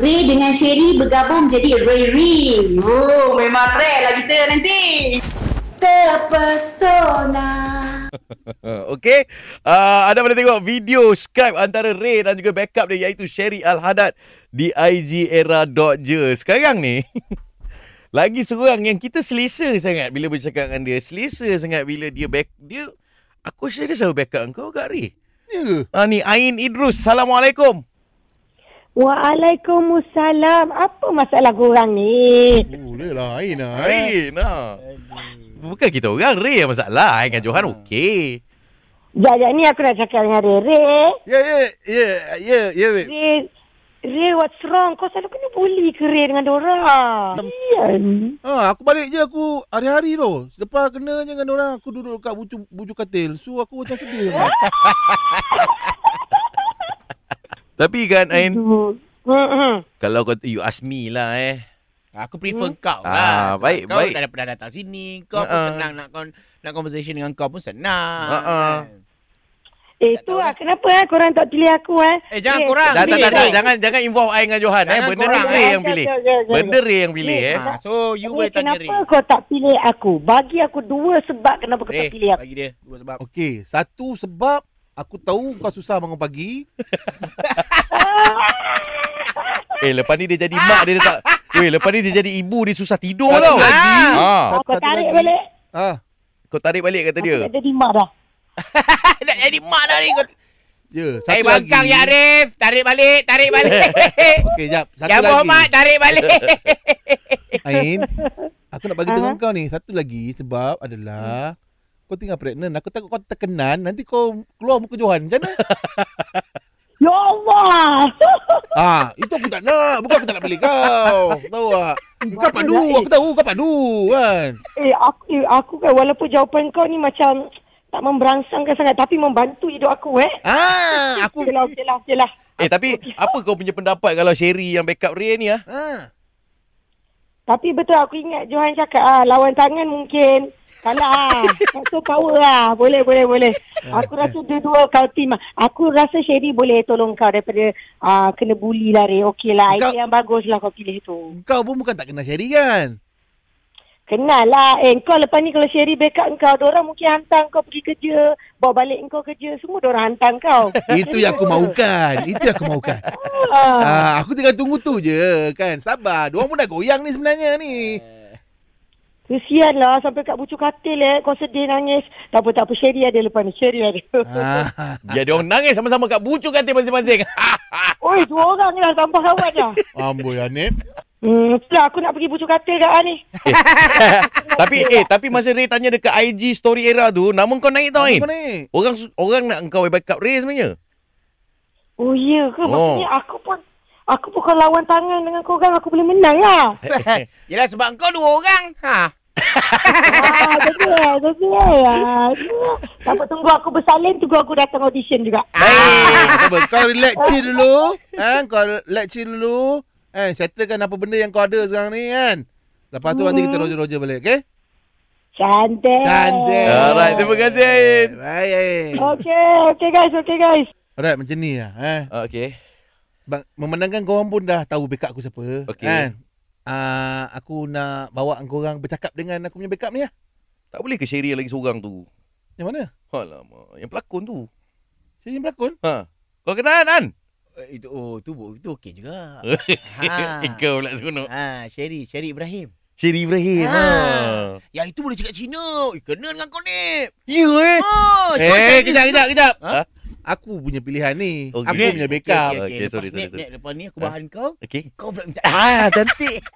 Ray dengan Sherry bergabung jadi Ray Ray. Oh, memang rare lah kita nanti. Terpesona. Okey. Uh, anda boleh tengok video Skype antara Ray dan juga backup dia iaitu Sherry Al-Hadad di IG era.je. Sekarang ni lagi seorang yang kita selesa sangat bila bercakap dengan dia. Selesa sangat bila dia back dia aku rasa dia selalu backup kau Kak Ray. Ya ke? Ha ni Ain Idrus. Assalamualaikum. Waalaikumsalam. Apa masalah korang ni? Oh, dia lain lah. eh. Ain. Ha. Bukan kita orang Ray yang masalah. Ain dengan Johan okey. Sekejap ni aku nak cakap dengan Rere. Ya ya ya ya ya. weh. Rere, Rere what's wrong? Kau selalu kena bully ke Rere dengan dorang? Ian. Ha, aku balik je aku hari-hari tu. Selepas kena je dengan orang aku duduk kat bucu, bucu katil. So aku macam sedih. sangat. Tapi kan Ain Tu. Mm-mm. kalau kau you ask me lah eh. Aku prefer Hmm? kau Ah, lah. Sebab baik, kau baik. tak ada pernah datang sini. Kau pun Ha-ha. senang nak kon nak conversation dengan kau pun senang. kan? Ha-ha. Eh Tak tu tahu lah kenapa eh? korang tak pilih aku eh? Eh, jangan korang. Tak, tak, tak, tak. Ray. Jangan, jangan involve I dengan Johan. Eh. Jangan Benda korang, Ray eh. yang pilih. Okey, okey, okey, Benda Ray yang pilih. eh. Ha, so you boleh Rere, tanya kenapa Ray. kau tak pilih aku? Bagi aku dua sebab kenapa kau Ray, tak pilih aku. bagi dia dua sebab. Okey, satu sebab aku tahu kau susah bangun pagi. Eh, lepas ni dia jadi mak dia, dia tak... Weh, lepas ni dia jadi ibu, dia susah tidur Satu tau. Ah. lagi. Ha. Kau Satu tarik lagi. balik. Ah, Kau tarik balik kata dia. Aku tak ada dimak dah. Nak jadi mak dah ni. Kau... ya, satu Tarik lagi. bangkang ya Arif. Tarik balik, tarik balik. Okey, jap. Satu Yang lagi. Muhammad, tarik balik. Ain, aku nak bagi Ah. tahu kau ni. Satu lagi sebab adalah kau tengah pregnant. Aku takut kau terkenan. Nanti kau keluar muka Johan. Macam mana? Ya Allah. ah, itu aku tak nak. Bukan aku tak nak pilih kau. Tahu tak? Kau padu. Aku tahu kau padu kan. Eh aku, eh, aku kan walaupun jawapan kau ni macam tak memberangsangkan sangat tapi membantu hidup aku eh. Ah, aku. Okeylah, okeylah, okeylah. Eh, tapi apa kau punya pendapat kalau Sherry yang backup Ray ni? Ha? Ah. Tapi betul aku ingat Johan cakap ah, lawan tangan mungkin kalah ah. Tak so power ah. Boleh, boleh, boleh. Ah, Aku rasa dua-dua kau team. ah. Aku rasa Sherry boleh tolong kau daripada ah, kena bully lah Ray. Okeylah, Kau- idea yang bagus lah kau pilih tu. Kau pun bukan tak kenal Sherry kan? Kenal lah. Eh, kau lepas ni kalau Sherry backup kau, orang mungkin hantar kau pergi kerja, bawa balik kau kerja, semua orang hantar kau. Itu yang aku mahukan. Itu yang aku mahukan. Ah. Ah, aku tinggal tunggu tu je kan. Sabar. Diorang pun dah goyang ni sebenarnya ni. Kesian lah sampai kat bucu katil eh. Kau sedih nangis. Tak apa, tak apa. Sherry ada lepas ni. Sherry ada. Ah. Biar dia orang nangis sama-sama kat kan bucu katil masing-masing. Oi, dua orang lah tambah kawan dah. Amboi Hanif. Hmm, itulah aku nak pergi bucu katil kat Ah ni. tapi eh tapi masa Ray tanya dekat IG story era tu, nama kau naik tau Ain. Kau ni. Orang orang nak kau backup Ray sebenarnya. Oh, ya ke? Oh. Maksudnya aku pun... Aku pun kalau lawan tangan dengan korang, aku boleh menang lah. Yelah sebab kau dua orang. Ha. ah, jadi eh, jadi eh. Ah, aduh. tak apa, tunggu aku bersalin, tunggu aku datang audition juga. Ah. Baik. Apa, kau relax chill dulu. Ha, kau relax chill dulu. Eh, settlekan apa benda yang kau ada sekarang ni kan. Lepas tu nanti kita roja-roja balik, okey? Cantik. Cantik. Alright, terima kasih Ain. Baik, Ain. Okay, okay guys, okay guys. Alright, macam ni lah. Eh. Okey. Bang, memenangkan korang pun dah tahu backup aku siapa. Okey. Uh, aku nak bawa korang bercakap dengan aku punya backup ni lah. Tak boleh ke Sherry lagi seorang tu? Yang mana? Alamak, yang pelakon tu. Saya yang berlakon? Ha. Kau kenal An? Eh, Itu oh tu bu- itu okey juga. Ha. Ha. Kau pula seronok. Ha, Sherry, Sherry Ibrahim. Seri Ibrahim. Ha. Ha. Yang itu boleh cakap Cina. Eh, kena dengan kau ni. Ya eh. Oh, Eh, Chinese. kejap, kejap, kejap. Ha? Aku punya pilihan ni. Okey. Aku punya Okey, backup. okey, Okey, okey. sorry, sorry, Lepas ni- sorry. ni, Lepas ni aku bahan kau. Okey. Kau pula minta. Ah, cantik.